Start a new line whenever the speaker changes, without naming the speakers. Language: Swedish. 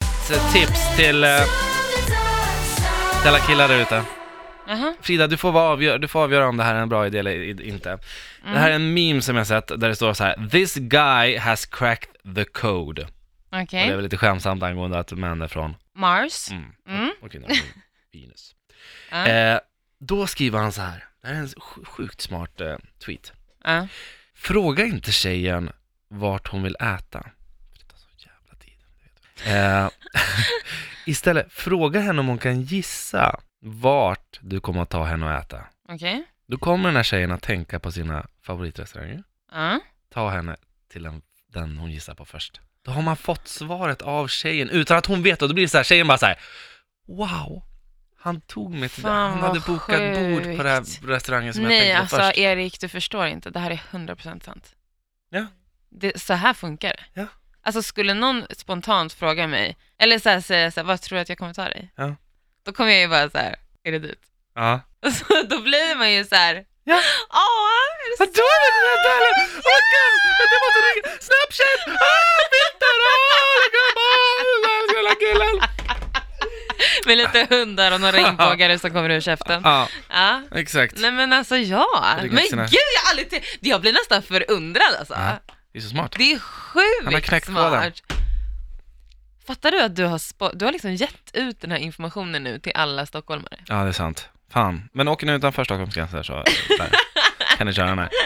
veckans eh, tips till, eh, till alla killar där ute.
Aha.
Frida, du får, vara avgör, du får avgöra om det här är en bra idé eller i- inte. Det här är
Mm.
en meme som jag sett där det står så här: “This guy has cracked the code”.
Okej.
Och det är väl lite skämtsamt angående att män är från
Mars.
Mm.
Mm.
Och kvinnor från Venus.
Ja.
Eh, då skriver han så här. det här är en sj- sjukt smart eh, tweet.
Ja.
Fråga inte tjejen vart hon vill äta. För det tar så jävla tid, det vet du. Eh, istället, fråga henne om hon kan gissa vart du kommer att ta henne och äta.
Okej.
Då kommer den här tjejen att tänka på sina favoritrestauranger.
Ja.
Ta henne till den, den hon gissar på först. Då har man fått svaret av tjejen utan att hon vet och då blir det så här, tjejen bara så här. Wow, han tog mig till det.
Fan,
Han hade
vad
bokat bord på den här
sjukt.
restaurangen som jag
Nej,
tänkte
alltså
på först.
Erik, du förstår inte. Det här är 100% sant.
Ja.
Det, så här funkar det.
Ja.
Alltså skulle någon spontant fråga mig, eller så här, säga så här, vad tror du att jag kommer ta dig?
Ja.
Då kommer jag ju bara så här, är det dit?
Ja.
Och Så, då blir man ju så här, "Ah,
Ja.
"Åh, är det
Vad
så?"
dåligt det här dåligt! Åh oh, gud! Vänta, jag måste ringa! Snapchat! Ah, filter! Åh, gumman! Snälla killen!
Med lite hundar och några regnbågare som kommer ur käften.
Ja,
Ja.
exakt.
Nej men alltså ja,
Det är
men
ganska
gud
nice.
jag har aldrig tänkt- jag blir nästan förundrad alltså.
Ja. Det är så smart.
Det är sjukt
Han har knäckt
smart.
koden.
Fattar du att du har, spo- du har liksom gett ut den här informationen nu till alla stockholmare?
Ja, det är sant. Fan. Men åker ni utanför Stockholms gränser så där, kan ni köra den här.